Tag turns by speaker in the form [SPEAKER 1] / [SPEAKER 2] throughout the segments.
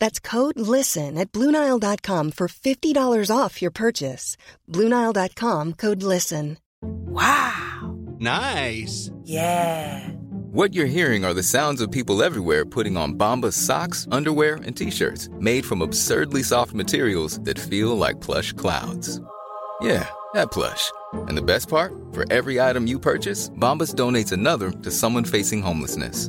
[SPEAKER 1] That's code LISTEN at Bluenile.com for $50 off your purchase. Bluenile.com code LISTEN.
[SPEAKER 2] Wow.
[SPEAKER 3] Nice.
[SPEAKER 2] Yeah.
[SPEAKER 4] What you're hearing are the sounds of people everywhere putting on Bombas socks, underwear, and t-shirts made from absurdly soft materials that feel like plush clouds. Yeah, that plush. And the best part? For every item you purchase, Bombas donates another to someone facing homelessness.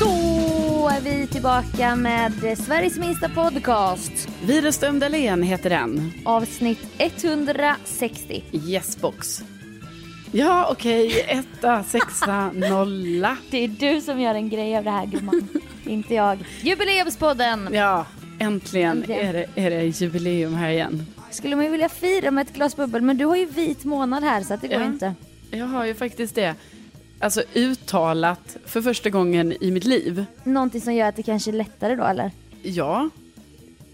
[SPEAKER 5] Då är vi tillbaka med Sveriges minsta podcast.
[SPEAKER 6] Widerström Dahlén heter den.
[SPEAKER 5] Avsnitt 160.
[SPEAKER 6] Yesbox. Ja, okej. Etta, sexa, nolla.
[SPEAKER 5] Det är du som gör en grej av det här gumman. Inte jag. Jubileumspodden.
[SPEAKER 6] Ja, äntligen är det, är det jubileum här igen.
[SPEAKER 5] Skulle man ju vilja fira med ett glas bubbel men du har ju vit månad här så att det går
[SPEAKER 6] Ja.
[SPEAKER 5] inte.
[SPEAKER 6] Jag har ju faktiskt det. Alltså uttalat för första gången i mitt liv.
[SPEAKER 5] Någonting som gör att det kanske är lättare då eller?
[SPEAKER 6] Ja.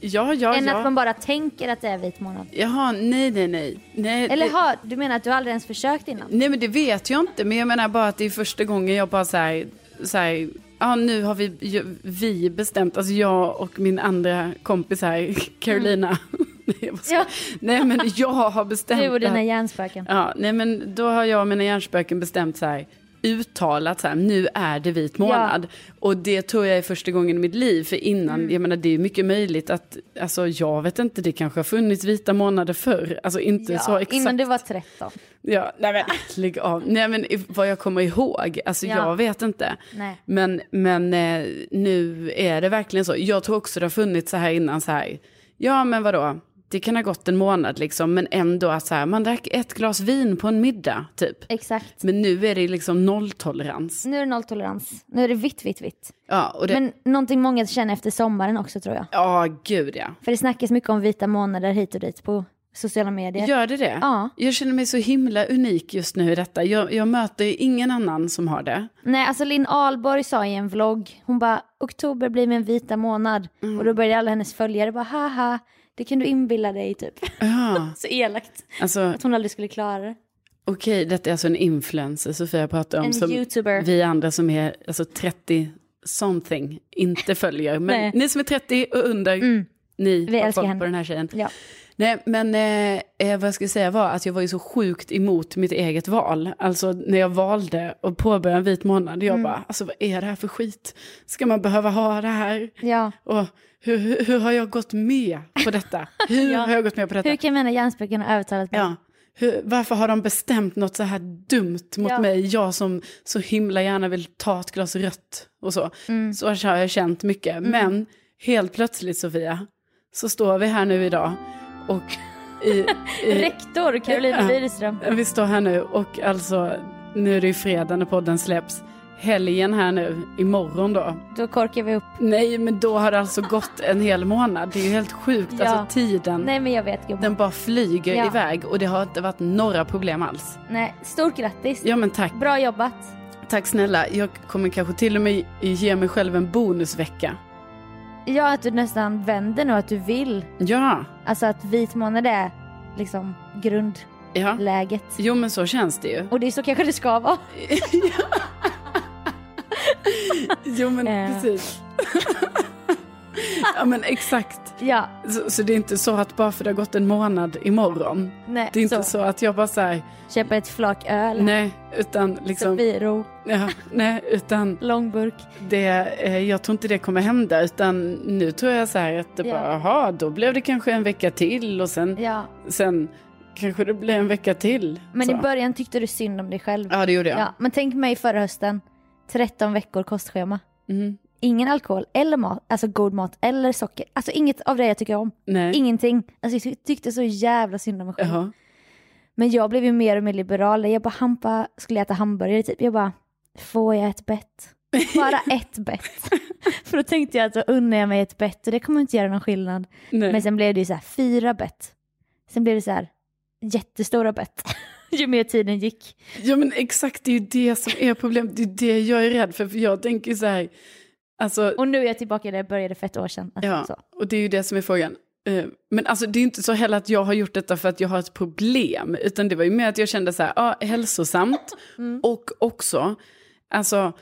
[SPEAKER 6] Ja, ja,
[SPEAKER 5] Än
[SPEAKER 6] ja.
[SPEAKER 5] att man bara tänker att det är vit månad.
[SPEAKER 6] Jaha, nej, nej, nej. nej
[SPEAKER 5] Eller
[SPEAKER 6] det-
[SPEAKER 5] har, du menar att du aldrig ens försökt innan?
[SPEAKER 6] Nej men det vet jag inte, men jag menar bara att det är första gången jag bara så här, så här ja nu har vi, ju- vi bestämt, alltså jag och min andra kompis här, Carolina. Nej, jag bara ska-
[SPEAKER 5] Mm. Ja.
[SPEAKER 6] Nej men jag har bestämt.
[SPEAKER 5] Du och
[SPEAKER 6] det
[SPEAKER 5] dina
[SPEAKER 6] här.
[SPEAKER 5] hjärnspöken.
[SPEAKER 6] Ja, nej men då har jag och mina hjärnspöken bestämt så här, uttalat så här, nu är det vit månad. Och det tror jag är första gången i mitt liv, för innan,
[SPEAKER 5] Mm.
[SPEAKER 6] jag menar det är mycket möjligt att, alltså jag vet inte, det kanske har funnits vita månader förr, alltså inte så
[SPEAKER 5] Ja,
[SPEAKER 6] exakt.
[SPEAKER 5] innan du var 13.
[SPEAKER 6] Ja, nej men lägg av. Nej men i- vad jag kommer ihåg, alltså
[SPEAKER 5] Ja.
[SPEAKER 6] jag vet inte.
[SPEAKER 5] Nej.
[SPEAKER 6] Men, men eh, nu är det verkligen så. Jag tror också det har funnits så här innan så här, ja men vadå, det kan ha gått en månad liksom, men ändå att så här, man drack ett glas vin på en middag typ.
[SPEAKER 5] Exakt.
[SPEAKER 6] Men nu är det liksom nolltolerans.
[SPEAKER 5] Nu är det nolltolerans. Nu är det vitt, vitt, vitt.
[SPEAKER 6] Ja, och det,
[SPEAKER 5] Men någonting många känner efter sommaren också tror jag.
[SPEAKER 6] ja gud ja.
[SPEAKER 5] För det snackas mycket om vita månader hit och dit på sociala medier.
[SPEAKER 6] Gör det det?
[SPEAKER 5] Ja.
[SPEAKER 6] Jag känner mig så himla unik just nu i detta. Jag, jag möter ju ingen annan som har det.
[SPEAKER 5] Nej, alltså Linn Ahlborg sa i en vlogg, hon bara oktober blir min vita månad.
[SPEAKER 6] Mm.
[SPEAKER 5] Och då började alla hennes följare bara haha, det kan du inbilla dig typ.
[SPEAKER 6] Ja,
[SPEAKER 5] Så elakt.
[SPEAKER 6] alltså
[SPEAKER 5] Att hon aldrig skulle klara det.
[SPEAKER 6] Okej, detta är alltså en influencer Sofia pratar om.
[SPEAKER 5] En
[SPEAKER 6] som
[SPEAKER 5] youtuber.
[SPEAKER 6] Vi andra som är alltså 30 something inte följer.
[SPEAKER 5] Nej. Mm.
[SPEAKER 6] Men ni som är 30 och under, ni
[SPEAKER 5] Vi
[SPEAKER 6] har
[SPEAKER 5] älskar
[SPEAKER 6] koll
[SPEAKER 5] henne.
[SPEAKER 6] på den här tjejen.
[SPEAKER 5] Ja.
[SPEAKER 6] Nej, men eh, eh, vad jag skulle säga var att jag var ju så sjukt emot mitt eget val. Alltså när jag valde att påbörja en vit månad,
[SPEAKER 5] Mm.
[SPEAKER 6] jag bara, alltså vad är det här för skit? Ska man behöva ha det här?
[SPEAKER 5] ja.
[SPEAKER 6] Och hur, hur, hur har jag gått med på detta? Hur har jag gått med på detta?
[SPEAKER 5] Hur kan mina hjärnspöken ha övertalat mig?
[SPEAKER 6] Ja. Hur, varför har de bestämt något så här dumt mot
[SPEAKER 5] Ja.
[SPEAKER 6] mig? Jag som så himla gärna vill ta ett glas rött och så.
[SPEAKER 5] Mm.
[SPEAKER 6] Så har jag känt mycket. Men helt plötsligt Sofia, så står vi här nu idag och i, i,
[SPEAKER 5] Rektor Caroline
[SPEAKER 6] Ja.
[SPEAKER 5] Widerström.
[SPEAKER 6] vi står här nu och alltså nu är det ju fredag när podden släpps. helgen här nu, imorgon då.
[SPEAKER 5] Då korkar vi upp.
[SPEAKER 6] Nej, men då har det alltså gått en hel månad. Det är ju helt sjukt.
[SPEAKER 5] Ja.
[SPEAKER 6] Alltså tiden,
[SPEAKER 5] Nej men jag vet gumman.
[SPEAKER 6] den bara flyger
[SPEAKER 5] Ja.
[SPEAKER 6] iväg och det har inte varit några problem alls.
[SPEAKER 5] Nej, stort grattis.
[SPEAKER 6] Ja, men tack.
[SPEAKER 5] Bra jobbat.
[SPEAKER 6] Tack snälla. Jag kommer kanske till och med ge mig själv en bonusvecka.
[SPEAKER 5] Ja, att du nästan vänder nu, att du vill.
[SPEAKER 6] Ja,
[SPEAKER 5] Alltså att vit månad är liksom grundläget.
[SPEAKER 6] ja. Jo, men så känns det ju.
[SPEAKER 5] Och det är så kanske det ska vara.
[SPEAKER 6] Jo, men
[SPEAKER 5] Eh.
[SPEAKER 6] precis. ja, men exakt.
[SPEAKER 5] Ja,
[SPEAKER 6] Så, så det är inte så att bara för det har gått en månad imorgon.
[SPEAKER 5] nej.
[SPEAKER 6] Det är inte så, att jag bara säger
[SPEAKER 5] Köpa ett flak öl.
[SPEAKER 6] nej, utan liksom,
[SPEAKER 5] Sopiro,
[SPEAKER 6] ja, nej, utan
[SPEAKER 5] långburk.
[SPEAKER 6] det, eh, jag tror inte det kommer hända, utan nu tror jag så här att det
[SPEAKER 5] Ja.
[SPEAKER 6] bara, jaha, då blev det kanske en vecka till och sen,
[SPEAKER 5] Ja.
[SPEAKER 6] sen kanske det blev en vecka till.
[SPEAKER 5] Men
[SPEAKER 6] så.
[SPEAKER 5] i början tyckte du synd om dig själv.
[SPEAKER 6] Ja, det gjorde jag.
[SPEAKER 5] Ja, men tänk mig förra hösten. 13 veckor kostschema.
[SPEAKER 6] Mm.
[SPEAKER 5] Ingen alkohol eller mat, alltså god mat eller socker. Alltså inget av det jag tycker om.
[SPEAKER 6] Nej.
[SPEAKER 5] Ingenting. Alltså jag ty- tyckte så jävla synd om mig själv.
[SPEAKER 6] Jaha.
[SPEAKER 5] Men jag blev ju mer och mer liberal. Jag bara, Hampa skulle äta hamburgare typ. Jag bara, får jag ett bett? Bara ett bett. För då tänkte jag att då unnar jag mig ett bett och det kommer inte göra någon skillnad.
[SPEAKER 6] Nej.
[SPEAKER 5] Men sen blev det ju så här fyra bett. Sen blev det så här jättestora bett. Ju mer tiden gick.
[SPEAKER 6] Ja men exakt, det är ju det som är problemet. Det är det jag är rädd för, för jag tänker så här, alltså,
[SPEAKER 5] Och nu är jag tillbaka där jag började för ett år sedan. Alltså,
[SPEAKER 6] ja,
[SPEAKER 5] så.
[SPEAKER 6] och det är ju det som är frågan. Eh, Men alltså det är ju inte så heller att jag har gjort detta för att jag har ett problem, utan det var ju mer att jag kände så här, ja, hälsosamt
[SPEAKER 5] Mm.
[SPEAKER 6] och också, alltså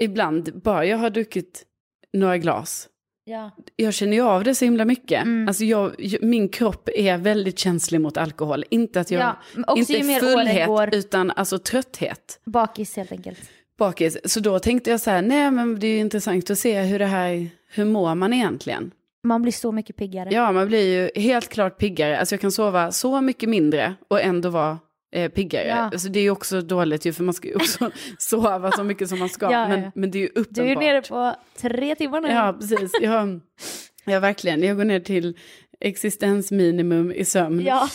[SPEAKER 6] ibland, bara jag har druckit några glas,
[SPEAKER 5] Ja.
[SPEAKER 6] jag känner ju av det så himla mycket.
[SPEAKER 5] Mm.
[SPEAKER 6] Alltså jag, jag- min kropp är väldigt känslig mot alkohol, inte att jag,
[SPEAKER 5] Ja, men också ju
[SPEAKER 6] inte
[SPEAKER 5] mer åren
[SPEAKER 6] fullhet,
[SPEAKER 5] går-
[SPEAKER 6] utan alltså trötthet
[SPEAKER 5] Bakis helt enkelt.
[SPEAKER 6] bakis. Så då tänkte jag så här, nej men det är ju intressant att se hur det här, hur mår man egentligen?
[SPEAKER 5] Man blir så mycket piggare.
[SPEAKER 6] Ja, man blir ju helt klart piggare. Alltså jag kan sova så mycket mindre och ändå vara eh, piggare.
[SPEAKER 5] Ja.
[SPEAKER 6] Alltså det är ju också dåligt ju, för man ska ju också sova så mycket som man ska.
[SPEAKER 5] Ja, ja, ja.
[SPEAKER 6] men, men det är ju uppenbart.
[SPEAKER 5] du är ju nere på tre timmar nu.
[SPEAKER 6] Ja, precis. Jag, ja, verkligen. Jag går ner till existensminimum i sömn.
[SPEAKER 5] ja.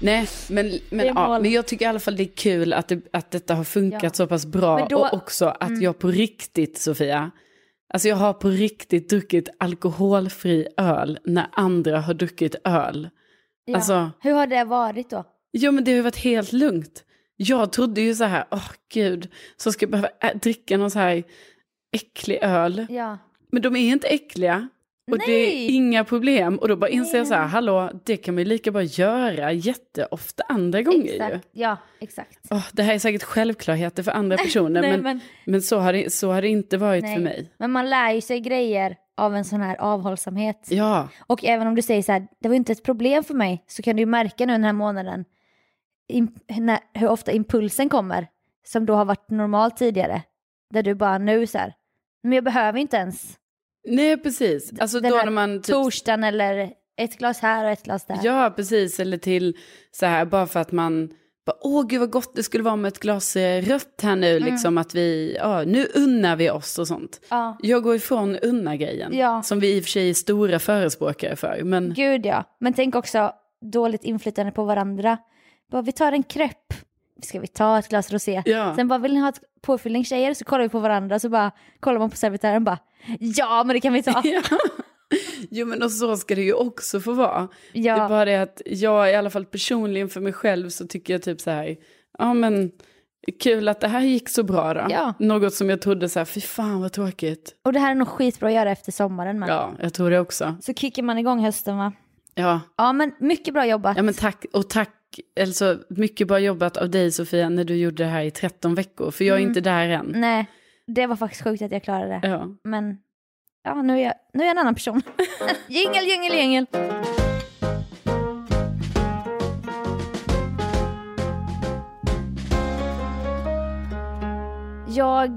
[SPEAKER 6] Nej, men, men,
[SPEAKER 5] Det är
[SPEAKER 6] ja,
[SPEAKER 5] mål.
[SPEAKER 6] men jag tycker i alla fall det är kul att, det, att detta har funkat
[SPEAKER 5] Ja.
[SPEAKER 6] så pass bra.
[SPEAKER 5] Men då- Mm.
[SPEAKER 6] Och också att jag på riktigt, Sofia, alltså jag har på riktigt druckit alkoholfri öl när andra har druckit öl.
[SPEAKER 5] Ja.
[SPEAKER 6] Alltså-
[SPEAKER 5] Hur har det varit då?
[SPEAKER 6] Jo men det har ju varit helt lugnt. Jag trodde ju så här, åh gud, så ska jag behöva ä- dricka någon så här äcklig öl.
[SPEAKER 5] Ja.
[SPEAKER 6] Men de är inte äckliga. Och det
[SPEAKER 5] Nej!
[SPEAKER 6] är inga problem. Och då bara inser jag så här, hallå, det kan man ju lika bra göra jätteofta andra gånger ju.
[SPEAKER 5] Exakt. Ja, exakt.
[SPEAKER 6] Åh, det här är säkert självklarheter för andra personer,
[SPEAKER 5] Nej,
[SPEAKER 6] men, men...
[SPEAKER 5] men-
[SPEAKER 6] så, har det, så har det inte varit
[SPEAKER 5] Nej.
[SPEAKER 6] för mig.
[SPEAKER 5] Men man lär ju sig grejer av en sån här avhållsamhet.
[SPEAKER 6] Ja,
[SPEAKER 5] Och även om du säger så här, det var inte ett problem för mig, så kan du ju märka nu den här månaden im- när, hur ofta impulsen kommer, som då har varit normalt tidigare. Där du bara nu så här, men jag behöver inte ens
[SPEAKER 6] nej precis. Alltså
[SPEAKER 5] den
[SPEAKER 6] då
[SPEAKER 5] här
[SPEAKER 6] när man typ...
[SPEAKER 5] torsdagen eller ett glas här och ett glas där.
[SPEAKER 6] Ja, precis. Eller till så här, bara för att man... bara, Åh, gud vad gott det skulle vara med ett glas eh, rött här nu,
[SPEAKER 5] Mm.
[SPEAKER 6] liksom att vi... Ja, nu unnar vi oss och sånt.
[SPEAKER 5] Ja.
[SPEAKER 6] Jag går ifrån unna-grejen,
[SPEAKER 5] Ja.
[SPEAKER 6] som vi i och för sig är stora förespråkare för. Men
[SPEAKER 5] Gud ja, men tänk också dåligt inflytande på varandra. Bara, vi tar en crepe, ska vi ta ett glas rosé?
[SPEAKER 6] Ja.
[SPEAKER 5] Sen bara, vill ni ha ett påfyllning tjejer? Så kollar vi på varandra, så bara kollar man på servitören bara, ja men det kan vi ta.
[SPEAKER 6] Ja. Jo men och så ska det ju också få vara.
[SPEAKER 5] Ja.
[SPEAKER 6] Det är bara det att jag i alla fall personligen för mig själv så tycker jag typ så här, ja men kul att det här gick så bra då.
[SPEAKER 5] Ja.
[SPEAKER 6] Något som jag trodde så här, fy fan vad tråkigt.
[SPEAKER 5] Och det här är nog skitbra att göra efter sommaren med.
[SPEAKER 6] Ja, jag tror det också.
[SPEAKER 5] Så kickar man igång hösten va?
[SPEAKER 6] Ja,
[SPEAKER 5] Ja men mycket bra jobbat.
[SPEAKER 6] ja men tack och tack, alltså mycket bra jobbat av dig Sofia när du gjorde det här i 13 veckor, för jag är inte där än.
[SPEAKER 5] Mm. Nej, det var faktiskt sjukt att jag klarade det.
[SPEAKER 6] Ja.
[SPEAKER 5] Men ja, nu är jag, nu är jag en annan person. jingel, jingel, jingel.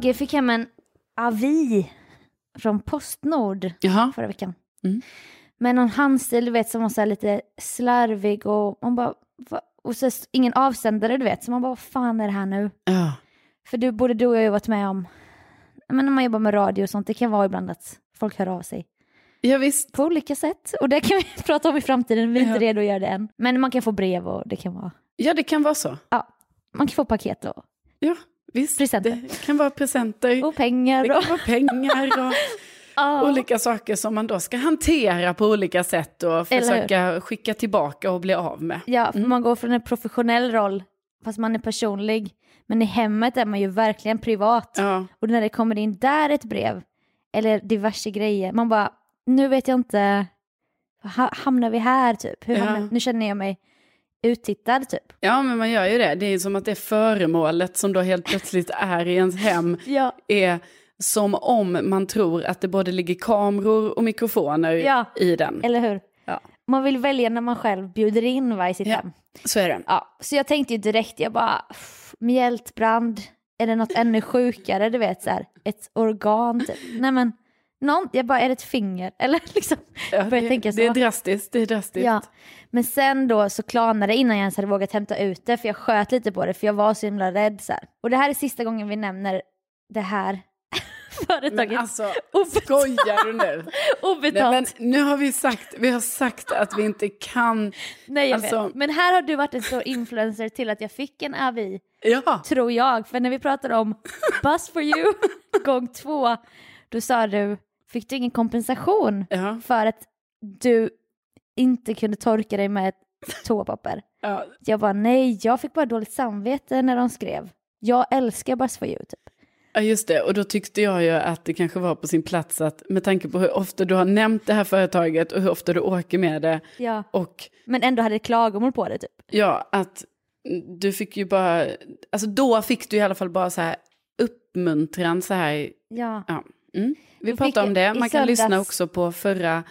[SPEAKER 5] Jag fick hem en avi från Postnord
[SPEAKER 6] Jaha,
[SPEAKER 5] förra veckan.
[SPEAKER 6] Mm.
[SPEAKER 5] Men någon handstil, du vet, som var så här lite slarvig och man bara, va? och så ingen avsändare, du vet. Så man bara, vad fan är det här nu?
[SPEAKER 6] ja,
[SPEAKER 5] För du, både du och jag har ju varit med om, men när man jobbar med radio och sånt, det kan vara ibland att folk hör av sig
[SPEAKER 6] ja visst.
[SPEAKER 5] på olika sätt. Och det kan vi prata om i framtiden, vi är inte
[SPEAKER 6] Ja.
[SPEAKER 5] redo att göra det än. Men man kan få brev och det kan vara,
[SPEAKER 6] Ja det kan vara så.
[SPEAKER 5] man kan få paket och
[SPEAKER 6] Ja, visst.
[SPEAKER 5] Presenter.
[SPEAKER 6] Det kan vara presenter.
[SPEAKER 5] Och pengar.
[SPEAKER 6] Det
[SPEAKER 5] Och...
[SPEAKER 6] kan vara pengar och
[SPEAKER 5] Ja.
[SPEAKER 6] olika saker som man då ska hantera på olika sätt och
[SPEAKER 5] hur?
[SPEAKER 6] försöka skicka tillbaka och bli av med.
[SPEAKER 5] Ja, för man går från en professionell roll fast man är personlig. Men i hemmet är man ju verkligen privat.
[SPEAKER 6] Ja.
[SPEAKER 5] Och när det kommer in där ett brev eller diverse grejer, man bara, nu vet jag inte, ha, hamnar vi här typ? Hur
[SPEAKER 6] Ja.
[SPEAKER 5] hamnar, nu känner jag mig uttittad typ.
[SPEAKER 6] ja, men man gör ju det. Det är ju som att det föremålet som då helt plötsligt är i ens hem
[SPEAKER 5] Ja.
[SPEAKER 6] är som om man tror att det både ligger kameror och mikrofoner
[SPEAKER 5] Ja.
[SPEAKER 6] i den.
[SPEAKER 5] Eller hur?
[SPEAKER 6] Ja.
[SPEAKER 5] Man vill välja när man själv bjuder in va, i sitt
[SPEAKER 6] Ja.
[SPEAKER 5] hem.
[SPEAKER 6] Så är det.
[SPEAKER 5] Ja, så jag tänkte ju direkt, jag bara, "Pff, mjältbrand, är det något ännu sjukare, du vet så här, ett organ typ. Nej men, någon, jag bara, är det ett finger? Eller liksom,
[SPEAKER 6] Ja,
[SPEAKER 5] började
[SPEAKER 6] det,
[SPEAKER 5] tänka så.
[SPEAKER 6] det är drastiskt, det är drastiskt.
[SPEAKER 5] ja. Men sen då så klarnade det innan jag ens hade vågat hämta ut det, för jag sköt lite på det, för jag var så himla rädd så här. Och det här är sista gången vi nämner det här företaget.
[SPEAKER 6] Men alltså,
[SPEAKER 5] Obetalt.
[SPEAKER 6] skojar du nu? Nej,
[SPEAKER 5] Obetalt.
[SPEAKER 6] men nu har vi sagt, vi har sagt att vi inte kan...
[SPEAKER 5] Nej, jag
[SPEAKER 6] alltså-
[SPEAKER 5] vet. Men här har du varit en stor influencer till att jag fick en avi.
[SPEAKER 6] Ja,
[SPEAKER 5] tror jag. För när vi pratade om Buzz for you gång två, då sa du, fick du ingen kompensation
[SPEAKER 6] ja,
[SPEAKER 5] för att du inte kunde torka dig med ett toapapper?
[SPEAKER 6] ja.
[SPEAKER 5] Jag bara, nej, jag fick bara dåligt samvete när de skrev. Jag älskar Buzz for you, typ.
[SPEAKER 6] Ja, just det. Och då tyckte jag ju att det kanske var på sin plats att med tanke på hur ofta du har nämnt det här företaget och hur ofta du åker med det
[SPEAKER 5] Ja.
[SPEAKER 6] och
[SPEAKER 5] Men ändå hade klagomål på det, typ.
[SPEAKER 6] ja, att du fick ju bara, alltså då fick du i alla fall bara så här uppmuntran så här,
[SPEAKER 5] Ja.
[SPEAKER 6] ja. Mm. Vi
[SPEAKER 5] Du
[SPEAKER 6] pratar
[SPEAKER 5] fick
[SPEAKER 6] om det,
[SPEAKER 5] i
[SPEAKER 6] man kan lyssna
[SPEAKER 5] söndags-
[SPEAKER 6] också på förra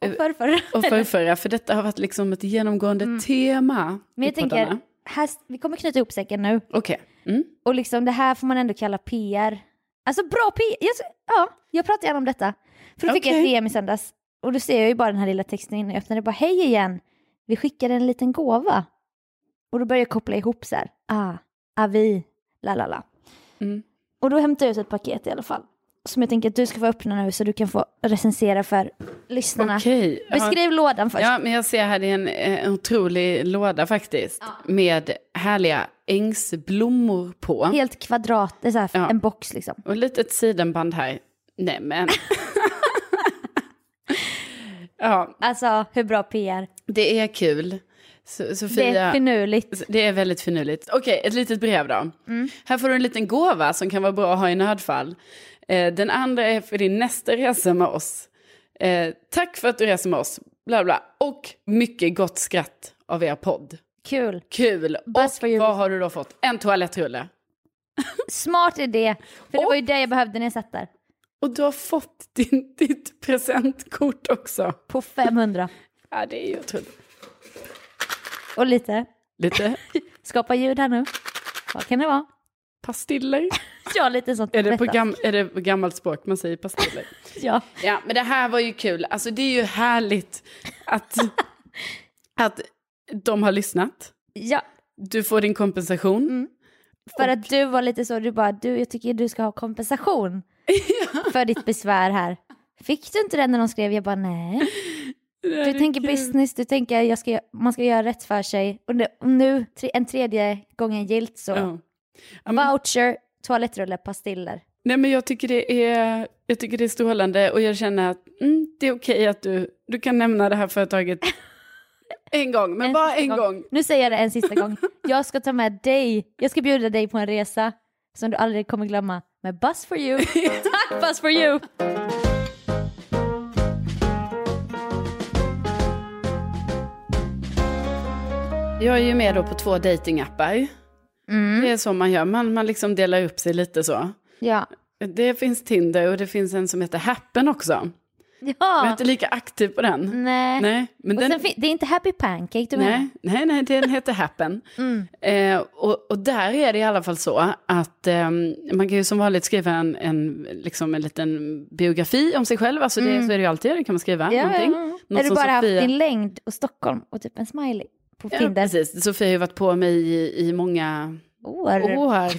[SPEAKER 6] eh,
[SPEAKER 5] Och förrförra.
[SPEAKER 6] och förrförra, för detta har varit liksom ett genomgående tema
[SPEAKER 5] Mm. Men jag
[SPEAKER 6] i poddarna.
[SPEAKER 5] tänker, här, vi kommer knyta ihop säcken nu.
[SPEAKER 6] Okej. Mm.
[SPEAKER 5] Och liksom det här får man ändå kalla PR. Alltså bra PR! Jag, ja, jag pratar gärna om detta. För då fick jag ett
[SPEAKER 6] Okej.
[SPEAKER 5] DM i söndags och då ser jag ju bara den här lilla texten innan jag öppnar det. bara hej igen, vi skickade en liten gåva. Och då börjar jag koppla ihop så här, ah, avi, la la la.
[SPEAKER 6] Mm.
[SPEAKER 5] Och då hämtar jag ut ett paket i alla fall. Som jag tänker att du ska få öppna nu så du kan få recensera för lyssnarna.
[SPEAKER 6] Okej. Ja.
[SPEAKER 5] Beskriv lådan först.
[SPEAKER 6] Ja, men jag ser här, det är en, eh, en otrolig låda faktiskt. Med härliga ängsblommor på.
[SPEAKER 5] Helt kvadrat, det är så här,
[SPEAKER 6] Ja.
[SPEAKER 5] en box liksom.
[SPEAKER 6] Och ett litet sidenband här. Nej men. ja,
[SPEAKER 5] Alltså hur bra PR.
[SPEAKER 6] det är kul. So- Sofia.
[SPEAKER 5] Det är finurligt.
[SPEAKER 6] Det är väldigt finurligt. Okej, ett litet brev då.
[SPEAKER 5] Mm.
[SPEAKER 6] Här får du en liten gåva som kan vara bra att ha i nödfall. Eh, den andra är för din nästa resa med oss. Eh, tack för att du reser med oss. Bla bla. Och mycket gott skratt av er podd.
[SPEAKER 5] Kul.
[SPEAKER 6] Kul!
[SPEAKER 5] Buzz for
[SPEAKER 6] och
[SPEAKER 5] you.
[SPEAKER 6] vad har du då fått? En toalettrulle.
[SPEAKER 5] Smart idé. För det var ju
[SPEAKER 6] Och-
[SPEAKER 5] det jag behövde när jag satt där.
[SPEAKER 6] Och du har fått din, ditt presentkort också.
[SPEAKER 5] På 500.
[SPEAKER 6] Ja, det är ju otroligt.
[SPEAKER 5] Och lite.
[SPEAKER 6] Lite
[SPEAKER 5] Skapa ljud här nu. Vad kan det vara?
[SPEAKER 6] pastiller.
[SPEAKER 5] Ja, lite sånt.
[SPEAKER 6] Är det, på
[SPEAKER 5] Berätta.
[SPEAKER 6] gam, är det på gammalt språk man säger pastiller?
[SPEAKER 5] Ja.
[SPEAKER 6] Ja, men det här var ju kul. Alltså det är ju härligt att, att de har lyssnat.
[SPEAKER 5] ja,
[SPEAKER 6] Du får din kompensation.
[SPEAKER 5] för att du var lite så, du bara, du, jag tycker du ska ha kompensation för ditt besvär här. Fick du inte den när de skrev? Jag bara, nej. Du tänker business, du tänker jag ska, man ska göra rätt för sig. Och nu, och nu tre, en tredje gången gilt så.
[SPEAKER 6] Ja. Ja, men,
[SPEAKER 5] Voucher, toalettrulle, pastiller.
[SPEAKER 6] nej, men jag tycker det är, jag tycker det är strålande och jag känner att mm, det är okej att du, du kan nämna det här företaget en gång, men
[SPEAKER 5] En
[SPEAKER 6] bara
[SPEAKER 5] sista
[SPEAKER 6] en gång.
[SPEAKER 5] Nu säger jag det en sista gång. Jag ska ta med dig, jag ska bjuda dig på en resa som du aldrig kommer glömma med Buzz for you. Tack Buzz for you!
[SPEAKER 6] Jag är ju med då på två datingappar.
[SPEAKER 5] Mm.
[SPEAKER 6] Det är så man gör, man, man liksom delar upp sig lite så.
[SPEAKER 5] Ja.
[SPEAKER 6] Det finns Tinder och det finns en som heter Happen också. Jag är
[SPEAKER 5] Ja.
[SPEAKER 6] inte lika aktiv på den.
[SPEAKER 5] Nej.
[SPEAKER 6] Nej, men
[SPEAKER 5] Och
[SPEAKER 6] den,
[SPEAKER 5] sen fin- det är inte Happy Pancake du menar?
[SPEAKER 6] nej, nej, nej, den heter Happen.
[SPEAKER 5] Mm.
[SPEAKER 6] Eh, och, och där är det i alla fall så att ehm, man kan ju som vanligt skriva en, en, liksom en liten biografi om sig själv. Alltså det, så är det ju alltid, det kan man skriva.
[SPEAKER 5] Mm. Ja,
[SPEAKER 6] någonting.
[SPEAKER 5] ja, ja.
[SPEAKER 6] Något
[SPEAKER 5] Har du
[SPEAKER 6] som
[SPEAKER 5] bara haft
[SPEAKER 6] Sofia-
[SPEAKER 5] din längd och Stockholm och typ en smiley på
[SPEAKER 6] Ja,
[SPEAKER 5] Tinder?
[SPEAKER 6] precis. Sofia har ju varit på mig i, i många
[SPEAKER 5] År.
[SPEAKER 6] år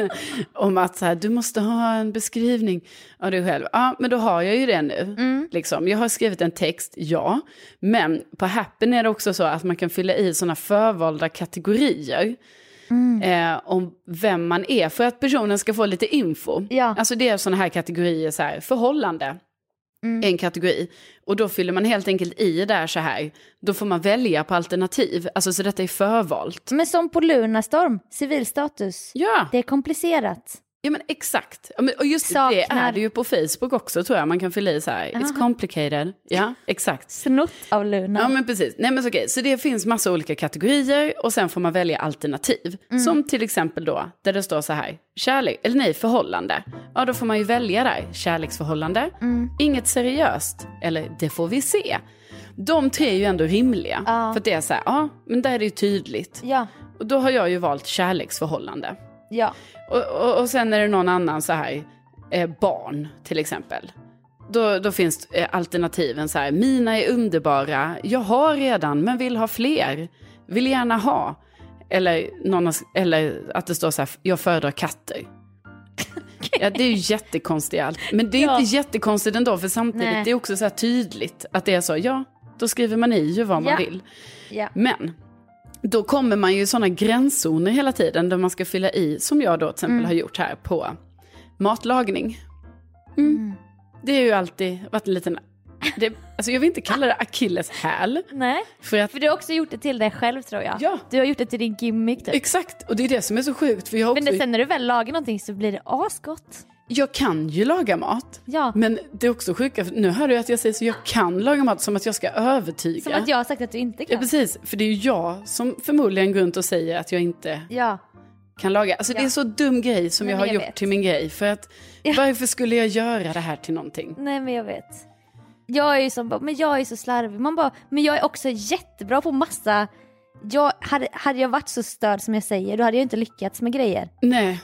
[SPEAKER 6] om att så här, du måste ha en beskrivning av dig själv. Ja, men då har jag ju det nu. Liksom. Jag har skrivit en text, ja. Men på Happen är det också så att man kan fylla i sådana förvalda kategorier. eh, om vem man är för att personen ska få lite info.
[SPEAKER 5] Ja.
[SPEAKER 6] Alltså det är sådana här kategorier, så här, förhållande är en kategori. Och då fyller man helt enkelt i där så här, då får man välja på alternativ. Alltså så detta är förvalt.
[SPEAKER 5] Men som på Lunarstorm, civilstatus.
[SPEAKER 6] Ja,
[SPEAKER 5] Det är komplicerat.
[SPEAKER 6] ja men exakt. Ja, men- Och just det
[SPEAKER 5] Saknar.
[SPEAKER 6] är det ju på Facebook också tror jag, man kan fylla i så här, it's complicated. Ja, exakt.
[SPEAKER 5] Snott av Luna.
[SPEAKER 6] Ja men precis. Nej, men så, okej. så det finns massa olika kategorier och sen får man välja alternativ.
[SPEAKER 5] Mm.
[SPEAKER 6] Som till exempel då där det står så här, kärlek, eller nej, förhållande. Ja då får man ju välja där, kärleksförhållande,
[SPEAKER 5] Mm.
[SPEAKER 6] inget seriöst, eller det får vi se. De tre är ju ändå rimliga. För att det är så här, ja men där är det ju tydligt.
[SPEAKER 5] ja.
[SPEAKER 6] Och då har jag ju valt kärleksförhållande.
[SPEAKER 5] ja.
[SPEAKER 6] Och, och, och sen är det någon annan så här, eh, barn till exempel. Då, då finns eh, alternativen så här, mina är underbara, jag har redan men vill ha fler, vill gärna ha. Eller, någon, har s- eller att det står så här, jag föredrar katter. Ja, det är ju jättekonstigt allt. Men det är
[SPEAKER 5] Ja.
[SPEAKER 6] inte jättekonstigt ändå, för samtidigt
[SPEAKER 5] Nej.
[SPEAKER 6] det är också så här tydligt att det är så, ja, då skriver man i ju vad man
[SPEAKER 5] Ja.
[SPEAKER 6] vill.
[SPEAKER 5] ja.
[SPEAKER 6] Men då kommer man ju i sådana gränszoner hela tiden där man ska fylla i, som jag då till exempel
[SPEAKER 5] Mm.
[SPEAKER 6] har gjort här på matlagning. Mm. Det är ju alltid varit en liten, det, alltså jag vill inte kalla det akilleshäl.
[SPEAKER 5] Nej.
[SPEAKER 6] För att,
[SPEAKER 5] För du har också gjort det till dig själv tror jag.
[SPEAKER 6] Ja.
[SPEAKER 5] Du har gjort det till din gimmick typ.
[SPEAKER 6] exakt, och det är det som är så sjukt för jag, har
[SPEAKER 5] Men
[SPEAKER 6] också,
[SPEAKER 5] det, sen när du väl lagar någonting så blir det asgott.
[SPEAKER 6] jag kan ju laga mat.
[SPEAKER 5] Ja.
[SPEAKER 6] Men det är också sjuka, för nu hör du att jag säger så, jag kan laga mat som att jag ska övertyga.
[SPEAKER 5] Som att jag har sagt att du inte
[SPEAKER 6] Ja
[SPEAKER 5] kan.
[SPEAKER 6] precis, för det är ju jag som förmodligen går runt och säger att jag inte
[SPEAKER 5] Ja.
[SPEAKER 6] kan laga. Alltså det är så dum grej som
[SPEAKER 5] Nej,
[SPEAKER 6] jag har
[SPEAKER 5] men jag
[SPEAKER 6] gjort
[SPEAKER 5] vet.
[SPEAKER 6] till min grej. För att varför skulle jag göra det här till någonting?
[SPEAKER 5] Nej men jag vet. Jag är ju som bara, men jag är så slarvig. Man bara, men jag är också jättebra på massa... Jag, hade, hade jag varit så störd som jag säger då hade jag inte lyckats med grejer.
[SPEAKER 6] Nej,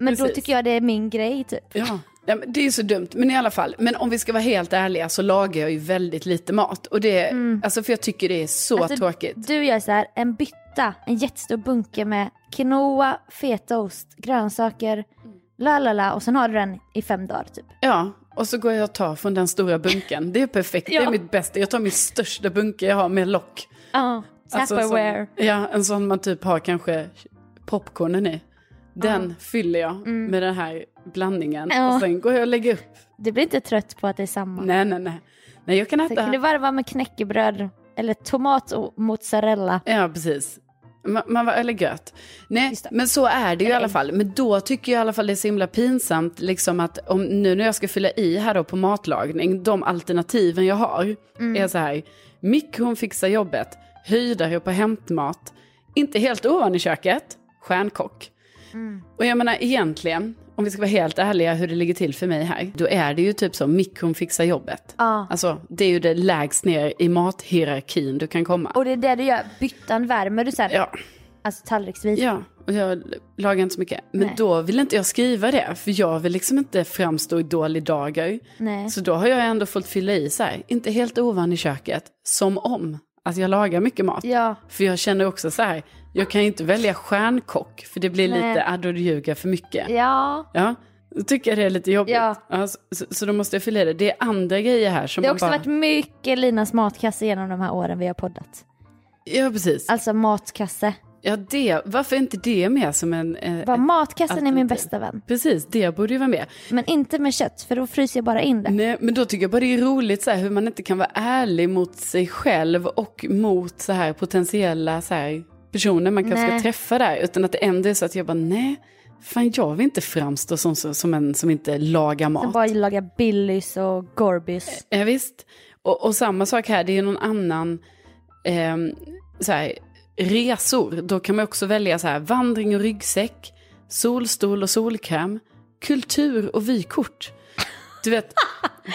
[SPEAKER 5] Men då
[SPEAKER 6] Precis.
[SPEAKER 5] tycker jag det är min grej typ.
[SPEAKER 6] ja. Nej, men det är ju så dumt. Men i alla fall, men om vi ska vara helt ärliga så lagar jag ju väldigt lite mat. Och det, alltså för jag tycker det är så
[SPEAKER 5] Mm. Alltså,
[SPEAKER 6] tråkigt.
[SPEAKER 5] Du gör så här, en bytta, en jättestor bunke med quinoa, fetaost, grönsaker,
[SPEAKER 6] Mm.
[SPEAKER 5] la la la och sen har du den i fem dagar typ.
[SPEAKER 6] Ja, och så går jag och tar från den stora bunken. Det är perfekt, det
[SPEAKER 5] Ja.
[SPEAKER 6] är mitt bästa. Jag tar min största bunke jag har med lock.
[SPEAKER 5] Ja,
[SPEAKER 6] Alltså,
[SPEAKER 5] Tupperware.
[SPEAKER 6] som- ja, en sån man typ har kanske popcornen i. Den fyller jag med den här blandningen.
[SPEAKER 5] Mm. Ja.
[SPEAKER 6] Och sen går jag och lägger upp
[SPEAKER 5] Du blir inte trött på att det är samma.
[SPEAKER 6] Nej, nej, nej. Nej, jag kan
[SPEAKER 5] Sen
[SPEAKER 6] äta.
[SPEAKER 5] kan du varva med knäckebröd eller tomat och mozzarella.
[SPEAKER 6] Ja, precis. Man, man var, eller gött. Nej,
[SPEAKER 5] Just det.
[SPEAKER 6] men så är det ju i alla
[SPEAKER 5] ägg.
[SPEAKER 6] fall. Men då tycker jag i alla fall det är så himla pinsamt, liksom att om, nu när jag ska fylla i här då på matlagning, de alternativen jag har
[SPEAKER 5] Mm.
[SPEAKER 6] är så här, mikron fixar jobbet, höjdare på hämtmat, inte helt ovan i köket, stjärnkock.
[SPEAKER 5] Mm.
[SPEAKER 6] Och jag menar egentligen, om vi ska vara helt ärliga hur det ligger till för mig här, då är det ju typ så, mikron fixar jobbet.
[SPEAKER 5] Ja.
[SPEAKER 6] Alltså, det är ju det lägst ner i mathierarkin du kan komma.
[SPEAKER 5] Och det är det du gör, byttan värmer du sen.
[SPEAKER 6] Ja,
[SPEAKER 5] Alltså tallriksvis.
[SPEAKER 6] ja, och jag lagar inte så mycket. Men
[SPEAKER 5] Nej.
[SPEAKER 6] då vill inte jag skriva det, för jag vill liksom inte framstå i dålig dagar.
[SPEAKER 5] Nej.
[SPEAKER 6] Så då har jag ändå fått fylla i så här, inte helt ovan i köket, som om att jag lagar mycket mat.
[SPEAKER 5] Ja.
[SPEAKER 6] För jag känner också så här, jag kan ju inte välja stjärnkock, för det blir
[SPEAKER 5] Nej.
[SPEAKER 6] lite ad och ljuga för mycket.
[SPEAKER 5] Ja.
[SPEAKER 6] Ja, då tycker jag det är lite jobbigt.
[SPEAKER 5] Ja.
[SPEAKER 6] så, så, så då måste jag fylla i det. Det är andra grejer här som
[SPEAKER 5] Det har
[SPEAKER 6] man
[SPEAKER 5] också
[SPEAKER 6] bara...
[SPEAKER 5] varit mycket Linas matkasse genom de här åren vi har poddat.
[SPEAKER 6] Ja, precis.
[SPEAKER 5] Alltså matkasse.
[SPEAKER 6] Ja, det, varför är inte det med som en... eh,
[SPEAKER 5] Bara,
[SPEAKER 6] ett-
[SPEAKER 5] matkassen är min
[SPEAKER 6] alternativ.
[SPEAKER 5] bästa vän.
[SPEAKER 6] Precis, det borde ju vara med.
[SPEAKER 5] Men inte med kött, för då fryser jag bara in det.
[SPEAKER 6] Nej, men då tycker jag bara det är roligt så här, hur man inte kan vara ärlig mot sig själv och mot så här potentiella så här, personer man kanske
[SPEAKER 5] Nej.
[SPEAKER 6] ska träffa där. Utan att det ändå är så att jag bara, nej, fan jag vill inte framstå som, som, som en som inte lagar
[SPEAKER 5] Så
[SPEAKER 6] mat. Eh.
[SPEAKER 5] bara laga Billys och Gorbys.
[SPEAKER 6] Ja, visst. Och, och samma sak här, det är ju någon annan, ehm, så här, resor. Då kan man också välja så här, vandring och ryggsäck, solstol och solkräm, kultur och vykort. Du vet,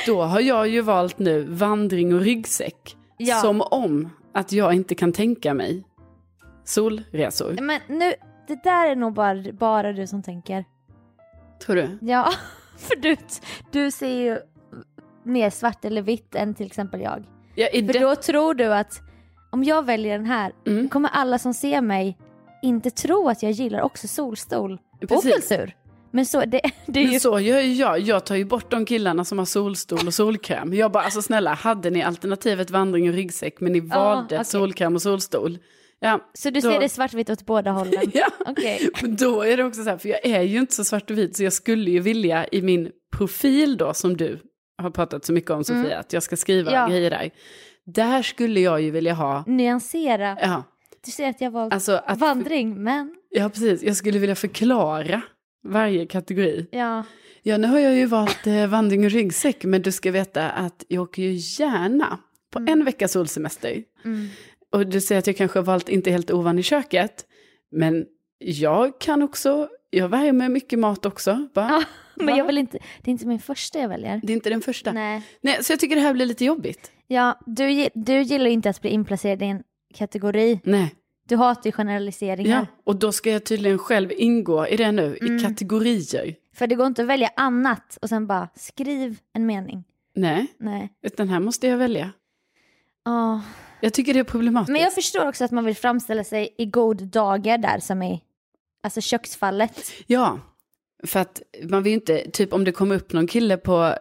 [SPEAKER 6] då har jag ju valt nu vandring och ryggsäck.
[SPEAKER 5] Ja.
[SPEAKER 6] Som om att jag inte kan tänka mig solresor.
[SPEAKER 5] Men nu, det där är nog bara, bara du som tänker.
[SPEAKER 6] Tror du?
[SPEAKER 5] Ja, för du, du ser ju mer svart eller vitt än till exempel jag.
[SPEAKER 6] Ja, i
[SPEAKER 5] För
[SPEAKER 6] det-
[SPEAKER 5] då tror du att om jag väljer den här,
[SPEAKER 6] Mm.
[SPEAKER 5] då kommer alla som ser mig inte tro att jag gillar också solstol och
[SPEAKER 6] Precis.
[SPEAKER 5] kultur. Men så, det, det är ju...
[SPEAKER 6] Men så gör ju jag. Jag tar ju bort de killarna som har solstol och solkräm. Jag bara, alltså snälla, hade ni alternativet vandring och ryggsäck men ni valde
[SPEAKER 5] Ah, okej.
[SPEAKER 6] solkräm och solstol? Ja,
[SPEAKER 5] Så du
[SPEAKER 6] då-
[SPEAKER 5] ser det svartvitt åt båda hållen?
[SPEAKER 6] Ja,
[SPEAKER 5] Okej.
[SPEAKER 6] men då är det också så här, för jag är ju inte så svart och vit, så jag skulle ju vilja i min profil då, som du har pratat så mycket om Sofia, att jag ska skriva
[SPEAKER 5] Mm. Ja.
[SPEAKER 6] grejer där. Där skulle jag ju vilja ha,
[SPEAKER 5] Nyansera.
[SPEAKER 6] ja,
[SPEAKER 5] Du säger att jag valt
[SPEAKER 6] alltså att,
[SPEAKER 5] vandring, men...
[SPEAKER 6] ja precis, jag skulle vilja förklara varje kategori.
[SPEAKER 5] Ja.
[SPEAKER 6] Ja, nu har jag ju valt eh, vandring och ryggsäck, men du ska veta att jag åker ju gärna på en vecka solsemester.
[SPEAKER 5] Mm.
[SPEAKER 6] Och du säger att jag kanske har valt inte helt ovan i köket, men jag kan också, jag värmer mycket mat också. Bara,
[SPEAKER 5] Ja,
[SPEAKER 6] Va?
[SPEAKER 5] men jag vill inte... Det är inte min första jag väljer.
[SPEAKER 6] Det är inte den första. Nej.
[SPEAKER 5] Nej.
[SPEAKER 6] så jag tycker det här blir lite jobbigt.
[SPEAKER 5] Ja, du, gi- du gillar ju inte att bli inplacerad i en kategori.
[SPEAKER 6] Nej.
[SPEAKER 5] Du hatar ju
[SPEAKER 6] Ja,
[SPEAKER 5] generaliseringar.
[SPEAKER 6] och då ska jag tydligen själv ingå i det nu, i
[SPEAKER 5] Mm.
[SPEAKER 6] kategorier.
[SPEAKER 5] För det går inte att välja annat och sen bara skriv en mening.
[SPEAKER 6] Nej,
[SPEAKER 5] Nej.
[SPEAKER 6] utan här måste jag välja.
[SPEAKER 5] Ja.
[SPEAKER 6] Jag tycker det är problematiskt.
[SPEAKER 5] Men jag förstår också att man vill framställa sig i god dagar där som i alltså köksfallet.
[SPEAKER 6] Ja, för att man vill ju inte, typ om det kommer upp någon kille på,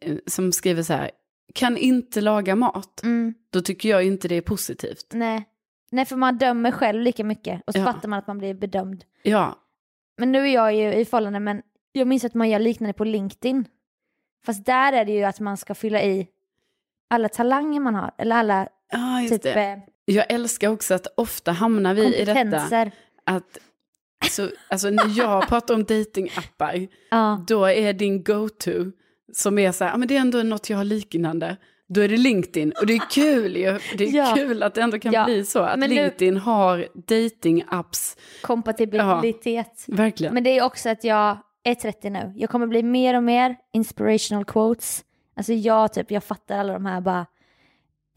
[SPEAKER 6] eh, som skriver så här, kan inte laga mat,
[SPEAKER 5] Mm.
[SPEAKER 6] då tycker jag inte det är positivt.
[SPEAKER 5] Nej. Nej, för man dömer själv lika mycket och så
[SPEAKER 6] Ja.
[SPEAKER 5] fattar man att man blir bedömd.
[SPEAKER 6] Ja,
[SPEAKER 5] Men nu är jag ju i förhållande, men jag minns att man gör liknande på LinkedIn. Fast där är det ju att man ska fylla i alla talanger man har, eller alla
[SPEAKER 6] ja just
[SPEAKER 5] typ
[SPEAKER 6] det.
[SPEAKER 5] eh,
[SPEAKER 6] Jag älskar också att ofta hamnar vi i detta,
[SPEAKER 5] kompetenser.
[SPEAKER 6] att så, alltså, när jag pratar om datingappar,
[SPEAKER 5] Ja.
[SPEAKER 6] då är din go-to, som är så här, ah, men det är ändå något jag har liknande, då är det LinkedIn. Och det är kul ju, det är
[SPEAKER 5] Ja.
[SPEAKER 6] kul att det ändå kan
[SPEAKER 5] Ja.
[SPEAKER 6] bli så, att
[SPEAKER 5] Men nu-
[SPEAKER 6] LinkedIn har datingapps,
[SPEAKER 5] Kompatibilitet.
[SPEAKER 6] verkligen.
[SPEAKER 5] Men det är också att jag är 30 nu. Jag kommer bli mer och mer inspirational quotes. Alltså jag typ, jag fattar alla de här bara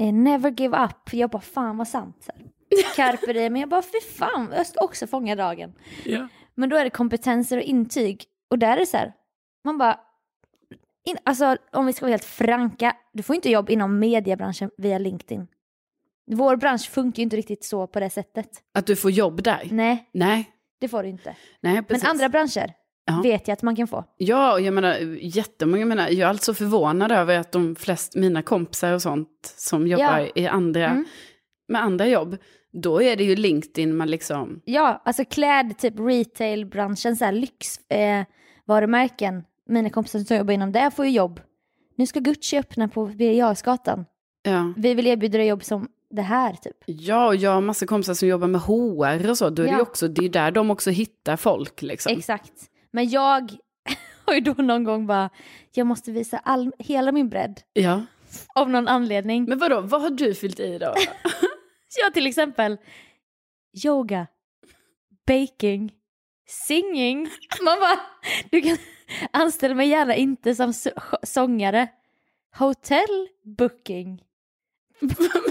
[SPEAKER 5] eh, never give up. Jag bara fan vad sant. Så här. Carpe diem, men jag bara fy fan, jag ska också fånga dagen.
[SPEAKER 6] Ja.
[SPEAKER 5] Men då är det kompetenser och intyg. Och där är det så här, man bara, in, alltså om vi ska vara helt franka, du får inte jobb inom mediebranschen via LinkedIn. Vår bransch funkar ju inte riktigt så på det sättet.
[SPEAKER 6] Att du får jobb där?
[SPEAKER 5] Nej,
[SPEAKER 6] Nej,
[SPEAKER 5] det får du inte.
[SPEAKER 6] nej
[SPEAKER 5] Men
[SPEAKER 6] precis.
[SPEAKER 5] andra branscher
[SPEAKER 6] Ja.
[SPEAKER 5] vet jag att man kan få.
[SPEAKER 6] Ja, och jag menar jättemånga, jag menar, jag är alltså förvånad över att de flest, mina kompisar och sånt som jobbar
[SPEAKER 5] Ja.
[SPEAKER 6] i andra,
[SPEAKER 5] Mm.
[SPEAKER 6] med andra jobb, då är det ju LinkedIn man liksom,
[SPEAKER 5] Ja, alltså kläd, typ retailbranschen, så här lyxvarumärken. Eh, varumärken. Mina kompisar som jobbar inom det får ju jobb. Nu ska Gucci öppna på Birger Jarlsgatan.
[SPEAKER 6] ja.
[SPEAKER 5] Vi vill erbjuda dig jobb som det här typ.
[SPEAKER 6] Ja, och jag har massa kompisar som jobbar med HR och så, då är det
[SPEAKER 5] Ja.
[SPEAKER 6] ju också, det är ju där de också hittar folk liksom.
[SPEAKER 5] Exakt. Men jag har ju då någon gång bara, jag måste visa all, hela min bredd.
[SPEAKER 6] ja.
[SPEAKER 5] Av någon anledning.
[SPEAKER 6] Men vadå, vad har du fyllt i då?
[SPEAKER 5] Så jag till exempel, yoga, baking, singing. Man bara, du kan anställa mig gärna inte som så- sångare. Hotel booking.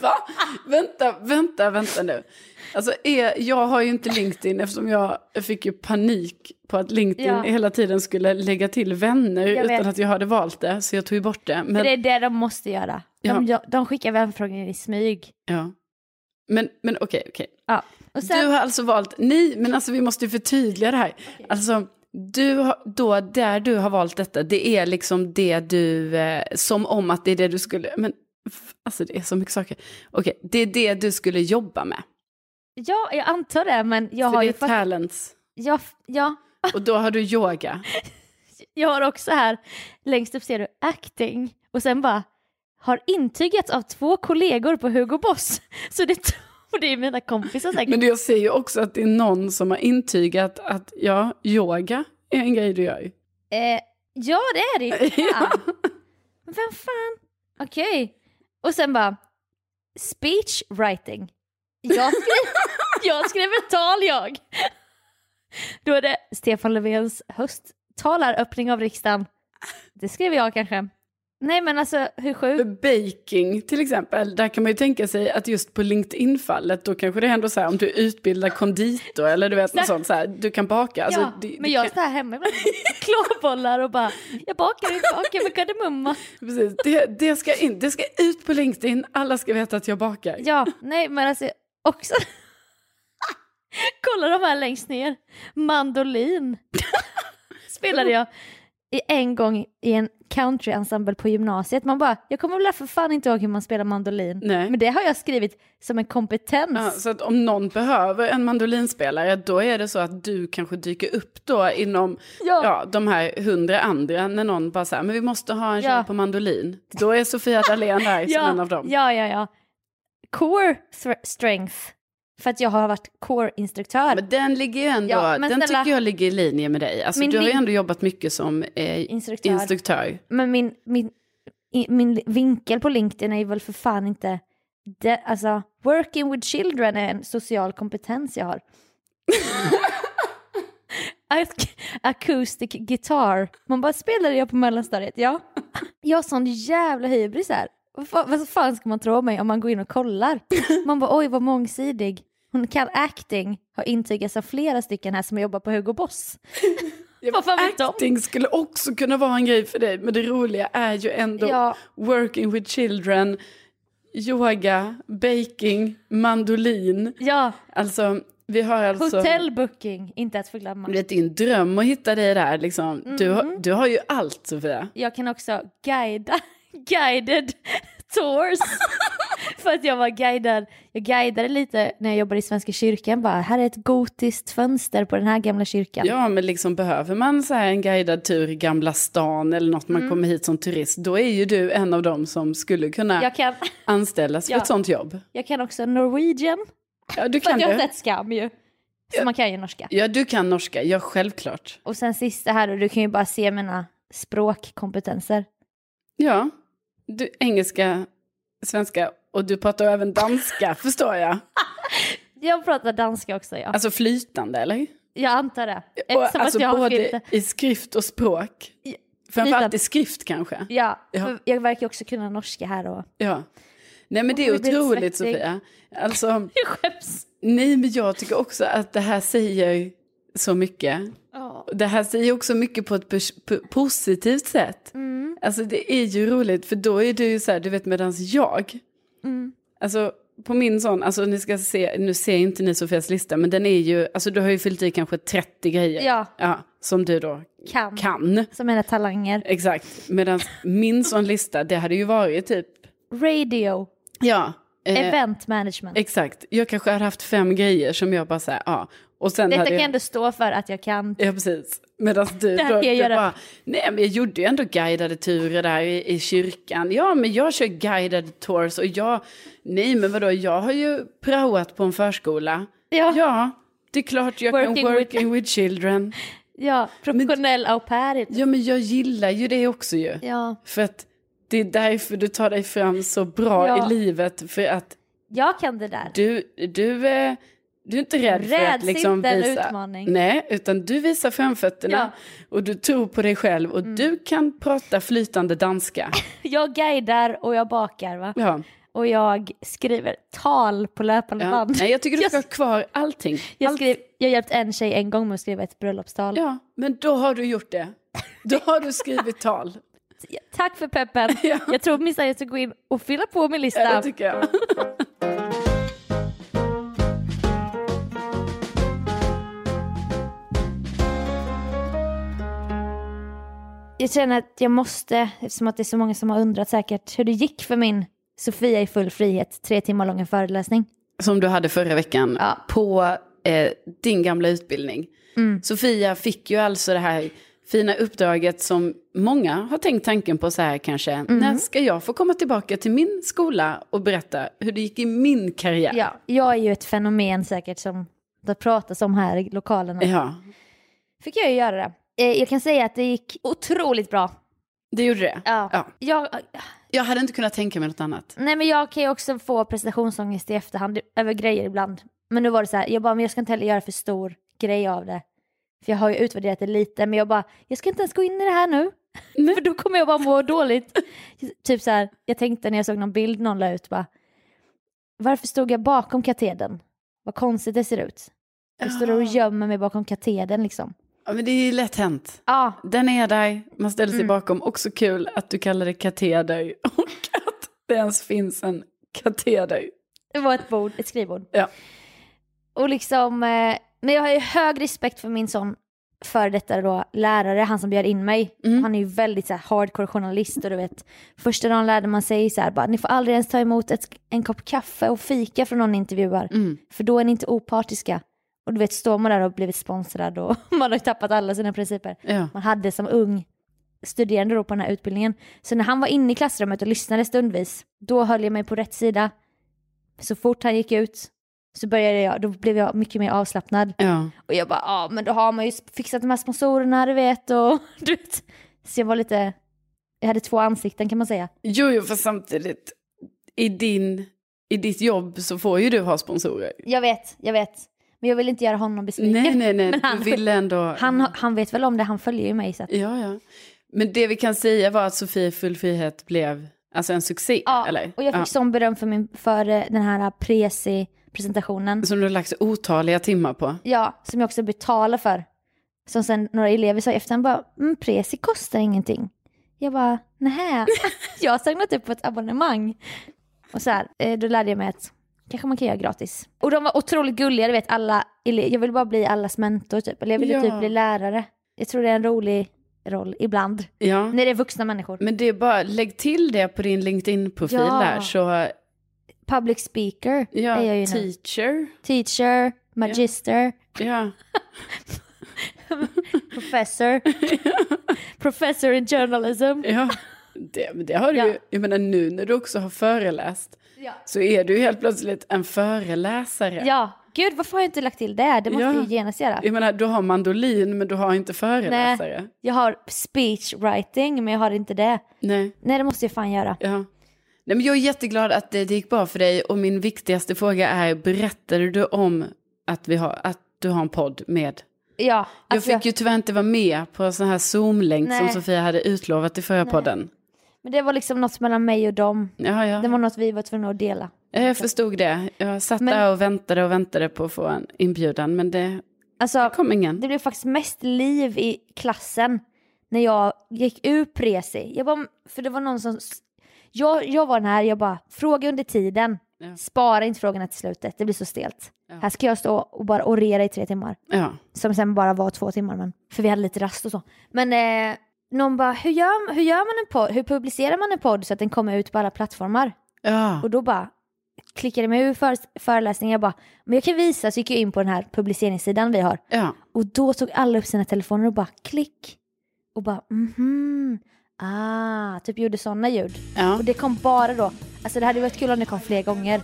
[SPEAKER 6] Va? Vänta, vänta, vänta nu. Alltså, är, jag har ju inte LinkedIn eftersom jag fick ju panik på att LinkedIn
[SPEAKER 5] Ja.
[SPEAKER 6] hela tiden skulle lägga till vänner
[SPEAKER 5] Jag vet.
[SPEAKER 6] utan att jag hade valt det, så jag tog ju bort det. Men,
[SPEAKER 5] För det är det de måste göra. De, de skickar vänförfrågningar i smyg.
[SPEAKER 6] ja. men, men okej, okej.
[SPEAKER 5] Ja. Och sen,
[SPEAKER 6] Du har alltså valt, nej, men alltså vi måste ju förtydliga det här. Alltså, du har, då, där du har valt detta, det är liksom det du, eh, som om att det är det du skulle, men f- alltså det är så mycket saker. Okej, det är det du skulle jobba med.
[SPEAKER 5] ja, jag antar det, men jag
[SPEAKER 6] Så
[SPEAKER 5] har
[SPEAKER 6] det
[SPEAKER 5] ju
[SPEAKER 6] är
[SPEAKER 5] fått...
[SPEAKER 6] talents.
[SPEAKER 5] Jag, ja,
[SPEAKER 6] Och då har du yoga.
[SPEAKER 5] jag har också här, längst upp ser du acting och sen bara har intygats av två kollegor på Hugo Boss. Så det, och det är mina kompisar säkert.
[SPEAKER 6] Men jag ser ju också att det är någon som har intygat att ja, yoga är en grej du gör ju.
[SPEAKER 5] Eh, ja, det är det ju. Fan. Men Vem fan? Okej. Och sen bara, speech writing. Jag skrev, jag skrev ett tal jag. Då är det Stefan Löfvens hösttalaröppning av riksdagen. Det skrev jag kanske. Nej men alltså hur sjukt?
[SPEAKER 6] Baking till exempel, där kan man ju tänka sig att just på LinkedIn-fallet då kanske det är ändå så här om du utbildar konditor eller du vet något sånt så här, du kan baka. Alltså,
[SPEAKER 5] ja,
[SPEAKER 6] det,
[SPEAKER 5] men
[SPEAKER 6] det
[SPEAKER 5] jag
[SPEAKER 6] kan,
[SPEAKER 5] står här hemma ibland och klåbollar och bara, jag bakar, jag bakar med kardemumma.
[SPEAKER 6] precis, det, det, ska in, det ska ut på LinkedIn, alla ska veta att jag bakar.
[SPEAKER 5] Ja, nej men alltså också. Kolla de här längst ner. Mandolin. Spelade jag i en gång i en countryensemble på gymnasiet. Man bara, jag kommer väl för fan inte ihåg hur man spelar mandolin.
[SPEAKER 6] Nej.
[SPEAKER 5] Men det har jag skrivit som en kompetens.
[SPEAKER 6] Ja, så att om någon behöver en mandolinspelare då är det så att du kanske dyker upp då inom ja.
[SPEAKER 5] Ja.
[SPEAKER 6] de här hundra andra när någon bara säger men vi måste ha en tjej
[SPEAKER 5] Ja.
[SPEAKER 6] på mandolin. Då är Sofia Dalén där som liksom en av dem.
[SPEAKER 5] ja, ja, ja. Core str- strength. För att jag har varit core-instruktör.
[SPEAKER 6] Men den ligger ju ändå,
[SPEAKER 5] Ja,
[SPEAKER 6] den
[SPEAKER 5] men snälla-
[SPEAKER 6] tycker jag ligger i linje med dig. Alltså,
[SPEAKER 5] Min
[SPEAKER 6] du har ju
[SPEAKER 5] vin-
[SPEAKER 6] ändå jobbat mycket som eh,
[SPEAKER 5] Instruktör.
[SPEAKER 6] instruktör.
[SPEAKER 5] Men min, min, i- min vinkel på LinkedIn är ju väl för fan inte... Det, alltså, working with children är en social kompetens jag har. Ac- acoustic guitar. Man bara, spelade jag på mellanstadiet? Ja. Jag har sån jävla hybris här. Vad fan, vad fan ska man tro om mig om man går in och kollar? Man bara, oj vad mångsidig. Hon kan acting, har intygats av flera stycken här som jobbar på Hugo Boss. Vad fan vet de?
[SPEAKER 6] Acting skulle också kunna vara en grej för dig, men det roliga är ju ändå
[SPEAKER 5] Ja.
[SPEAKER 6] working with children, yoga, baking, mandolin.
[SPEAKER 5] Ja,
[SPEAKER 6] Alltså, vi har alltså...
[SPEAKER 5] hotellbooking, inte att förglömma.
[SPEAKER 6] Det är din dröm att hitta dig där liksom. Du,
[SPEAKER 5] Mm-hmm.
[SPEAKER 6] har- du har ju allt Sofia.
[SPEAKER 5] jag kan också guida, guided tours. För att jag var guidad, jag guidade lite när jag jobbade i Svenska kyrkan, bara här är ett gotiskt fönster på den här gamla kyrkan.
[SPEAKER 6] Ja, men liksom behöver man så här en guidad tur i Gamla stan eller något
[SPEAKER 5] Mm.
[SPEAKER 6] man kommer hit som turist, då är ju du en av dem som skulle kunna
[SPEAKER 5] Jag, kan,
[SPEAKER 6] anställas för
[SPEAKER 5] Ja.
[SPEAKER 6] ett sånt jobb.
[SPEAKER 5] jag kan också Norwegian,
[SPEAKER 6] Ja, du
[SPEAKER 5] för
[SPEAKER 6] kan
[SPEAKER 5] att jag har
[SPEAKER 6] det.
[SPEAKER 5] sett Skam ju. Så man kan ju norska.
[SPEAKER 6] Ja, du kan norska, ja självklart.
[SPEAKER 5] Och sen sista här, och du kan ju bara se mina språkkompetenser.
[SPEAKER 6] Ja, du, engelska, svenska och du pratar även danska, förstår jag.
[SPEAKER 5] Jag pratar danska också, ja.
[SPEAKER 6] Alltså flytande, eller?
[SPEAKER 5] jag antar det. Eftersom
[SPEAKER 6] Och, alltså
[SPEAKER 5] att jag har
[SPEAKER 6] både
[SPEAKER 5] filter.
[SPEAKER 6] i skrift och språk. Framförallt
[SPEAKER 5] flytande.
[SPEAKER 6] i skrift kanske.
[SPEAKER 5] Ja,
[SPEAKER 6] Ja.
[SPEAKER 5] för jag verkar ju också kunna norska här och...
[SPEAKER 6] Ja. Nej men det
[SPEAKER 5] Åh,
[SPEAKER 6] är
[SPEAKER 5] jag blir
[SPEAKER 6] otroligt
[SPEAKER 5] svettig.
[SPEAKER 6] Sofia. Alltså,
[SPEAKER 5] Jag skäms.
[SPEAKER 6] nej men jag tycker också att det här säger så mycket. Det här säger också mycket på ett pers- p- positivt sätt.
[SPEAKER 5] Mm.
[SPEAKER 6] Alltså det är ju roligt för då är du ju så här, du vet medans jag.
[SPEAKER 5] Mm.
[SPEAKER 6] Alltså på min sån, alltså ni ska se, nu ser inte ni Sofias lista men den är ju, alltså du har ju fyllt i kanske 30 grejer.
[SPEAKER 5] Ja.
[SPEAKER 6] som du då
[SPEAKER 5] Kan.
[SPEAKER 6] kan.
[SPEAKER 5] Som mina talanger.
[SPEAKER 6] Exakt, medan min sån lista, det hade ju varit typ,
[SPEAKER 5] Radio,
[SPEAKER 6] ja. eh,
[SPEAKER 5] event management.
[SPEAKER 6] Exakt, jag kanske har haft fem grejer som jag bara säger ja. Och sen
[SPEAKER 5] Detta
[SPEAKER 6] hade
[SPEAKER 5] kan jag
[SPEAKER 6] jag...
[SPEAKER 5] ändå stå för att jag kan.
[SPEAKER 6] Ja precis. Medan du
[SPEAKER 5] Det här
[SPEAKER 6] då,
[SPEAKER 5] kan jag
[SPEAKER 6] du
[SPEAKER 5] göra.
[SPEAKER 6] bara, nej men jag gjorde ju ändå guidade turer där i, i kyrkan. Ja men jag kör guidade tours och jag, nej men vadå, jag har ju praoat på en förskola.
[SPEAKER 5] Ja.
[SPEAKER 6] Ja, det är klart jag
[SPEAKER 5] Working
[SPEAKER 6] kan
[SPEAKER 5] with-
[SPEAKER 6] working with children.
[SPEAKER 5] Ja, professionell au pair.
[SPEAKER 6] Ja men jag gillar ju det också ju.
[SPEAKER 5] Ja.
[SPEAKER 6] För att det är därför du tar dig fram så bra
[SPEAKER 5] Ja.
[SPEAKER 6] i livet. För att
[SPEAKER 5] Jag kan det där.
[SPEAKER 6] du, du, eh, du är inte rädd för
[SPEAKER 5] Räds
[SPEAKER 6] att liksom
[SPEAKER 5] inte en
[SPEAKER 6] visa.
[SPEAKER 5] utmaning.
[SPEAKER 6] Nej, utan du visar framfötterna och du tror på dig själv och
[SPEAKER 5] Mm.
[SPEAKER 6] du kan prata flytande danska.
[SPEAKER 5] Jag guidar och jag bakar va?
[SPEAKER 6] Ja.
[SPEAKER 5] Och jag skriver tal på löpande
[SPEAKER 6] Ja.
[SPEAKER 5] band.
[SPEAKER 6] Nej, jag tycker du ska ha
[SPEAKER 5] jag,
[SPEAKER 6] kvar allting.
[SPEAKER 5] jag,
[SPEAKER 6] Allt-
[SPEAKER 5] skrev, jag hjälpte en tjej en gång med att skriva ett bröllopstal.
[SPEAKER 6] Ja, men då har du gjort det. Då har du skrivit tal.
[SPEAKER 5] Tack för peppen.
[SPEAKER 6] Ja.
[SPEAKER 5] Jag tror minsann jag ska gå in och fylla på min lista.
[SPEAKER 6] Ja, det tycker jag.
[SPEAKER 5] Jag känner att jag måste, eftersom att det är så många som har undrat säkert hur det gick för min Sofia i full frihet, tre timmar långa föreläsning.
[SPEAKER 6] Som du hade förra veckan på eh, din gamla utbildning.
[SPEAKER 5] Mm.
[SPEAKER 6] Sofia fick ju alltså det här fina uppdraget som många har tänkt tanken på så här kanske.
[SPEAKER 5] Mm.
[SPEAKER 6] När ska jag få komma tillbaka till min skola och berätta hur det gick i min karriär?
[SPEAKER 5] Ja, jag är ju ett fenomen säkert som det pratas om här i lokalerna.
[SPEAKER 6] Ja,
[SPEAKER 5] Fick jag ju göra det. Eh, Jag kan säga att det gick otroligt bra.
[SPEAKER 6] det gjorde det.
[SPEAKER 5] Ja.
[SPEAKER 6] Ja.
[SPEAKER 5] Jag,
[SPEAKER 6] Jag hade inte kunnat tänka mig något annat.
[SPEAKER 5] nej men jag kan ju också få prestationsångest i efterhand över grejer ibland. Men nu var det så här, jag bara, men jag ska inte heller göra för stor grej av det. För jag har ju utvärderat det lite, men jag bara, jag ska inte ens gå in i det här nu. För då kommer jag bara må dåligt. typ så här, jag tänkte när jag såg någon bild någon la ut bara, varför stod jag bakom katedern? Vad konstigt det ser ut. Jag står och gömmer mig bakom katedern liksom.
[SPEAKER 6] Ja, men det är lätt hänt.
[SPEAKER 5] Ja,
[SPEAKER 6] Den är där, man ställer
[SPEAKER 5] Mm.
[SPEAKER 6] sig bakom. Också kul att du kallar det kateder och att det ens finns en kateder.
[SPEAKER 5] det var ett bord, ett skrivbord.
[SPEAKER 6] Ja.
[SPEAKER 5] Och liksom, eh, men jag har ju hög respekt för min sån före detta då lärare, han som bjöd in mig, han är ju väldigt så här, hardcore journalist och du vet, första dagen lärde man sig så här, bara, ni får aldrig ens ta emot ett, en kopp kaffe och fika från någon ni intervjuar,
[SPEAKER 6] Mm.
[SPEAKER 5] för då är ni inte opartiska. Och du vet, står man där och blivit sponsrad och man har ju tappat alla sina principer.
[SPEAKER 6] Ja.
[SPEAKER 5] Man hade som ung studerande då på den här utbildningen. Så när han var inne i klassrummet och lyssnade stundvis, då höll jag mig på rätt sida. Så fort han gick ut så började jag, då blev jag mycket mer avslappnad.
[SPEAKER 6] Ja.
[SPEAKER 5] Och jag bara, ja men då har man ju fixat de här sponsorerna du vet och du vet. Så jag var lite, jag hade två ansikten kan man säga.
[SPEAKER 6] Jo, jo, för samtidigt, i, din, i ditt jobb så får ju du ha sponsorer.
[SPEAKER 5] Jag vet, jag vet. Men jag vill inte göra honom besviken.
[SPEAKER 6] Nej, nej, nej,
[SPEAKER 5] Men han,
[SPEAKER 6] du ville ändå...
[SPEAKER 5] han, han vet väl om det, han följer ju mig så att,
[SPEAKER 6] Ja, ja. Men det vi kan säga var att Sofie i full frihet blev alltså en succé,
[SPEAKER 5] ja.
[SPEAKER 6] eller?
[SPEAKER 5] Och jag fick
[SPEAKER 6] Ja.
[SPEAKER 5] sån beröm för, min, för eh, den här Presi-presentationen.
[SPEAKER 6] Som du har lagt otaliga timmar på.
[SPEAKER 5] Ja, som jag också betalar för. Som sen några elever sa i efterhand bara, mm, Presi kostar ingenting. Jag bara, nähä, jag har signat upp på ett abonnemang. Och så här, eh, då lärde jag mig att kanske man kan göra gratis. Och de var otroligt gulliga, du vet alla, ele- jag ville bara bli allas mentor typ, eller jag ville
[SPEAKER 6] Ja.
[SPEAKER 5] typ bli lärare. Jag tror det är en rolig roll ibland,
[SPEAKER 6] Ja.
[SPEAKER 5] när det är vuxna människor.
[SPEAKER 6] Men det är bara, lägg till det på din LinkedIn-profil
[SPEAKER 5] Ja.
[SPEAKER 6] där, så
[SPEAKER 5] Public speaker
[SPEAKER 6] ja,
[SPEAKER 5] är jag ju nu.
[SPEAKER 6] teacher.
[SPEAKER 5] Teacher, magister,
[SPEAKER 6] Ja.
[SPEAKER 5] professor, professor in journalism.
[SPEAKER 6] Ja, det, men det har du
[SPEAKER 5] Ja.
[SPEAKER 6] ju. Jag menar nu när du också har föreläst så är du ju helt plötsligt en föreläsare.
[SPEAKER 5] Ja, gud varför har jag inte lagt till det? Det måste
[SPEAKER 6] Ja.
[SPEAKER 5] jag ju genast göra.
[SPEAKER 6] Jag menar, du har mandolin men du har inte föreläsare.
[SPEAKER 5] Nej, jag har speechwriting men jag har inte det.
[SPEAKER 6] Nej.
[SPEAKER 5] Nej, det måste jag fan göra.
[SPEAKER 6] Ja. Nej, men jag är jätteglad att det, det gick bra för dig och min viktigaste fråga är, berättade du om att, vi har, att du har en podd med?
[SPEAKER 5] Ja,
[SPEAKER 6] Jag
[SPEAKER 5] alltså,
[SPEAKER 6] fick ju tyvärr inte vara med på en sån här Zoom-länk som
[SPEAKER 5] Nej.
[SPEAKER 6] Sofia hade utlovat i förra podden.
[SPEAKER 5] Men det var liksom något mellan mig och dem.
[SPEAKER 6] Ja, ja.
[SPEAKER 5] Det var något vi var tvungna att dela.
[SPEAKER 6] Ja, Jag förstod det. Jag satt
[SPEAKER 5] Men-
[SPEAKER 6] där och väntade och väntade på att få en inbjudan, men det
[SPEAKER 5] Alltså,
[SPEAKER 6] kom ingen.
[SPEAKER 5] det blev faktiskt mest liv i klassen när jag gick ur Presi. Jag bara, för det var någon som... Jag, jag var den här, jag bara, fråga under tiden.
[SPEAKER 6] Ja.
[SPEAKER 5] Spara inte frågorna till slutet, det blir så stelt.
[SPEAKER 6] Ja.
[SPEAKER 5] Här ska jag stå och bara orera i tre timmar.
[SPEAKER 6] Ja.
[SPEAKER 5] Som sen bara var två timmar, men, för vi hade lite rast och så. Men eh, någon bara, hur gör, hur gör man en podd? Hur publicerar man en podd så att den kommer ut på alla plattformar?
[SPEAKER 6] Ja.
[SPEAKER 5] Och då bara klickade jag mig ur före- föreläsningen. Jag bara, men jag kan visa. Så gick jag in på den här publiceringssidan vi har.
[SPEAKER 6] ja.
[SPEAKER 5] Och då tog alla upp sina telefoner och bara klick. Och bara, mhm, ah, typ gjorde sådana ljud.
[SPEAKER 6] Ja.
[SPEAKER 5] Och det kom bara då. Alltså det hade varit kul om det kom fler gånger.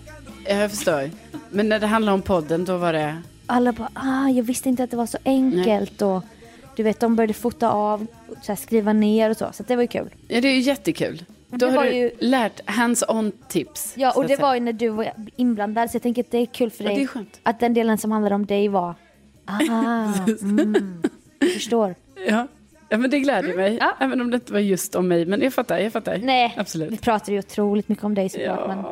[SPEAKER 6] Jag förstår. Men när det handlar om podden, då var det...
[SPEAKER 5] alla bara ah, jag visste inte att det var så enkelt och du vet de började fota av, så här, skriva ner och så, så att det var ju kul.
[SPEAKER 6] Ja, det är ju jättekul. Då
[SPEAKER 5] Det
[SPEAKER 6] har
[SPEAKER 5] var
[SPEAKER 6] du
[SPEAKER 5] ju-
[SPEAKER 6] lärt hands-on tips.
[SPEAKER 5] Ja
[SPEAKER 6] så
[SPEAKER 5] och
[SPEAKER 6] att
[SPEAKER 5] det
[SPEAKER 6] säga.
[SPEAKER 5] var ju när du var inblandad så jag tänker att det är kul för
[SPEAKER 6] Ja,
[SPEAKER 5] dig
[SPEAKER 6] det är skönt.
[SPEAKER 5] att den delen som handlade om dig var ah, mm, jag förstår.
[SPEAKER 6] Ja. ja, men det gläder mig.
[SPEAKER 5] Mm, ja.
[SPEAKER 6] Även om det inte var just om mig. Men jag fattar, jag fattar.
[SPEAKER 5] Nej, vi
[SPEAKER 6] Absolut.
[SPEAKER 5] pratade ju otroligt mycket om dig såklart
[SPEAKER 6] Ja.
[SPEAKER 5] men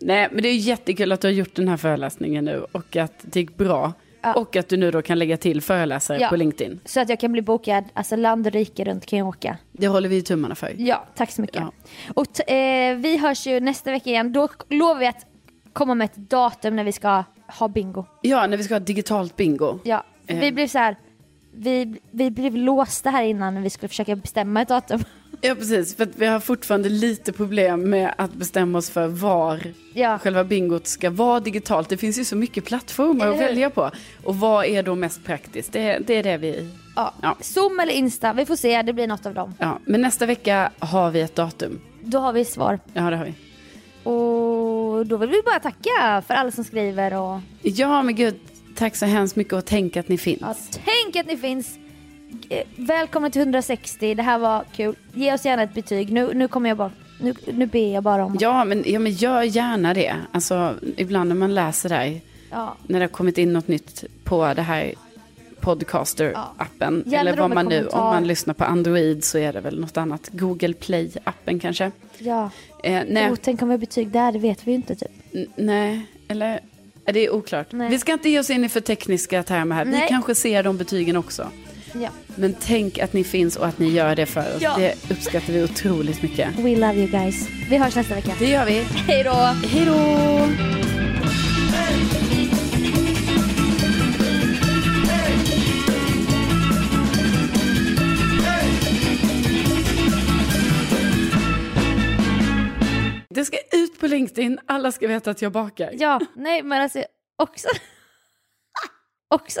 [SPEAKER 6] Nej, men det är ju jättekul att du har gjort den här föreläsningen nu och att det gick bra. Och att du nu då kan lägga till föreläsare
[SPEAKER 5] Ja.
[SPEAKER 6] på LinkedIn.
[SPEAKER 5] så att jag kan bli bokad, alltså land och rike runt kan jag åka.
[SPEAKER 6] Det håller vi ju tummarna för.
[SPEAKER 5] Ja, tack så mycket.
[SPEAKER 6] Ja.
[SPEAKER 5] Och t- eh, vi hörs ju nästa vecka igen, då k- lovar vi att komma med ett datum när vi ska ha bingo.
[SPEAKER 6] Ja, när vi ska ha digitalt bingo.
[SPEAKER 5] Ja, för vi
[SPEAKER 6] Eh.
[SPEAKER 5] blev så här. Vi, vi blev låsta här innan när vi skulle försöka bestämma ett datum.
[SPEAKER 6] Ja, precis. För att vi har fortfarande lite problem med att bestämma oss för var
[SPEAKER 5] Ja.
[SPEAKER 6] själva bingot ska vara digitalt. Det finns ju så mycket plattformar
[SPEAKER 5] Eller
[SPEAKER 6] att
[SPEAKER 5] hur?
[SPEAKER 6] välja på. Och vad är då mest praktiskt? Det, det är det vi...
[SPEAKER 5] Ja.
[SPEAKER 6] Ja.
[SPEAKER 5] Zoom eller Insta, vi får se, det blir något av dem.
[SPEAKER 6] Ja. Men nästa vecka har vi ett datum.
[SPEAKER 5] Då har vi svar.
[SPEAKER 6] Ja, det har vi.
[SPEAKER 5] Och då vill vi bara tacka för alla som skriver och
[SPEAKER 6] Ja, men gud. Tack så hemskt mycket och tänk att ni finns.
[SPEAKER 5] ja, tänk att ni finns. Eh, Välkomna till 160, det här var kul. Ge oss gärna ett betyg, nu, nu kommer jag bara, nu, nu ber jag bara om
[SPEAKER 6] Ja, men, ja, men gör gärna det. Alltså, ibland när man läser där,
[SPEAKER 5] Ja.
[SPEAKER 6] när det har kommit in något nytt på det här Podcaster-appen.
[SPEAKER 5] Gärna
[SPEAKER 6] Eller
[SPEAKER 5] då
[SPEAKER 6] vad
[SPEAKER 5] med
[SPEAKER 6] man nu, om
[SPEAKER 5] kommentar.
[SPEAKER 6] man lyssnar på Android så är det väl något annat. Google Play-appen kanske.
[SPEAKER 5] ja.
[SPEAKER 6] Eh, nej,
[SPEAKER 5] Oh, tänk om vi har betyg där, det vet vi ju inte typ.
[SPEAKER 6] n- nej, eller? eh, Det är oklart.
[SPEAKER 5] Nej.
[SPEAKER 6] Vi ska inte ge oss in i för tekniska termer här. Vi
[SPEAKER 5] Nej.
[SPEAKER 6] kanske ser de betygen också.
[SPEAKER 5] Ja.
[SPEAKER 6] Men tänk att ni finns och att ni gör det för oss.
[SPEAKER 5] Ja.
[SPEAKER 6] Det uppskattar vi otroligt mycket.
[SPEAKER 5] We love you guys. Vi hörs nästa vecka.
[SPEAKER 6] Det gör vi.
[SPEAKER 5] Hej då!
[SPEAKER 6] Hej då! LinkedIn, alla ska veta att jag bakar.
[SPEAKER 5] Ja, nej men alltså också... också...